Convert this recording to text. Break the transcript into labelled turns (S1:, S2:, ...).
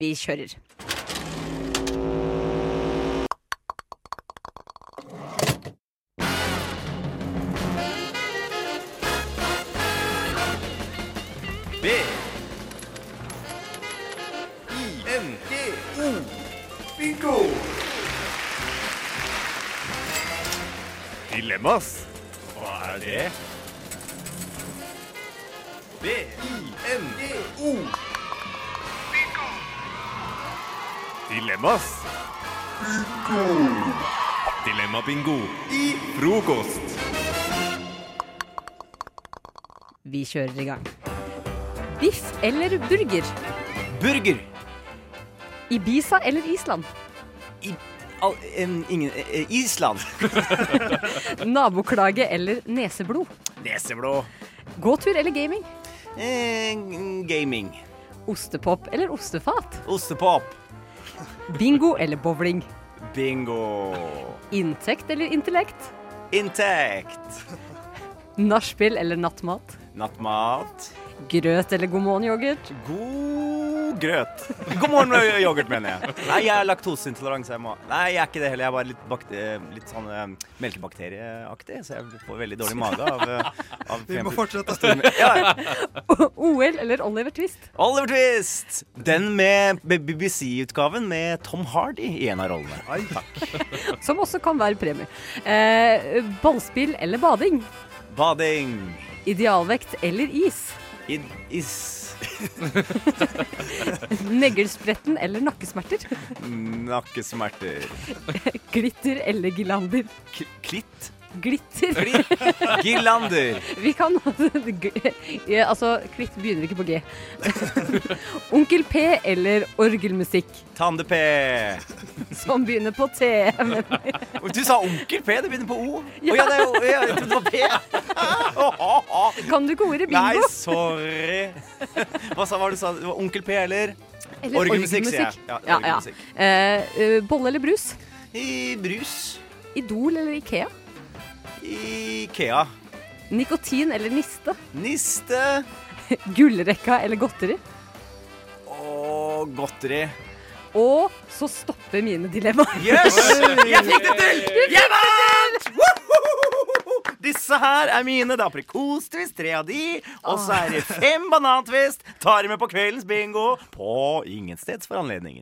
S1: Vi kjører.
S2: B I N G O Bingo! Dilemmas. Hva er det? B I N G O Bingo! Dilemmas. Bingo! Dilemma-bingo i frokost.
S1: Vi kjører i gang. Biff eller burger?
S3: Burger!
S1: Ibiza eller Island?
S3: I, all, en, ingen, eh, Island.
S1: Naboklage eller neseblod?
S3: Neseblå.
S1: Gåtur eller gaming?
S3: Eh, gaming.
S1: Ostepop eller ostefat?
S3: Ostepop.
S1: Bingo eller bowling?
S3: Bingo.
S1: Inntekt eller intellekt?
S3: Inntekt.
S1: Nachspiel eller nattmat?
S3: Nattmat.
S1: Grøt eller god morgen yoghurt?
S3: God grøt. God morgen med yoghurt, mener jeg. Nei, jeg er laktoseintolerant. så jeg må- Nei, jeg er ikke det heller. Jeg er bare litt, bakt eh, litt sånn eh, melkebakterieaktig, så jeg får veldig dårlig mage av, eh, av
S4: Vi må
S3: krem-
S4: fortsette.
S3: Ja, ja.
S1: OL eller Oliver Twist?
S3: Oliver Twist! Den med BBC-utgaven med Tom Hardy i en av rollene.
S4: Ai, takk.
S1: Som også kan være premie. Eh, ballspill eller bading?
S3: Bading.
S1: Idealvekt eller is?
S3: In is
S1: Neglespretten eller nakkesmerter?
S3: nakkesmerter.
S1: Glitter eller gilander?
S3: K klitt?
S1: Glitter.
S3: Gillander.
S1: Vi kan Ja, Altså, kvitt begynner ikke på G. Onkel P eller orgelmusikk,
S3: Tande P.
S1: som begynner på T. Men
S3: Du sa onkel P, det begynner på O. Å ja, det er O. Ja, jeg trodde det var P. Å, å, å.
S1: kan du ikke ordet bingo?
S3: Nei, sorry. Hva sa hva var det du sa? Det var Onkel P, eller?
S1: Eller
S3: orgelmusikk, sier jeg. Ja,
S1: Ja, ja.
S3: orgelmusikk.
S1: Eh, eh, bolle eller brus?
S3: I brus.
S1: Idol eller Ikea?
S3: I Ikea.
S1: Nikotin eller niste?
S3: Niste.
S1: Gullrekka eller godteri?
S3: Og godteri.
S1: Og så stopper mine dilemmaer.
S3: Yes! Jeg fikk det til! Jeg vant! Woho! Disse her er mine. Det er aprikostwist, tre av de. Og så er det fem banantwist. Tar de med på kveldens bingo på ingensteds for anledningen.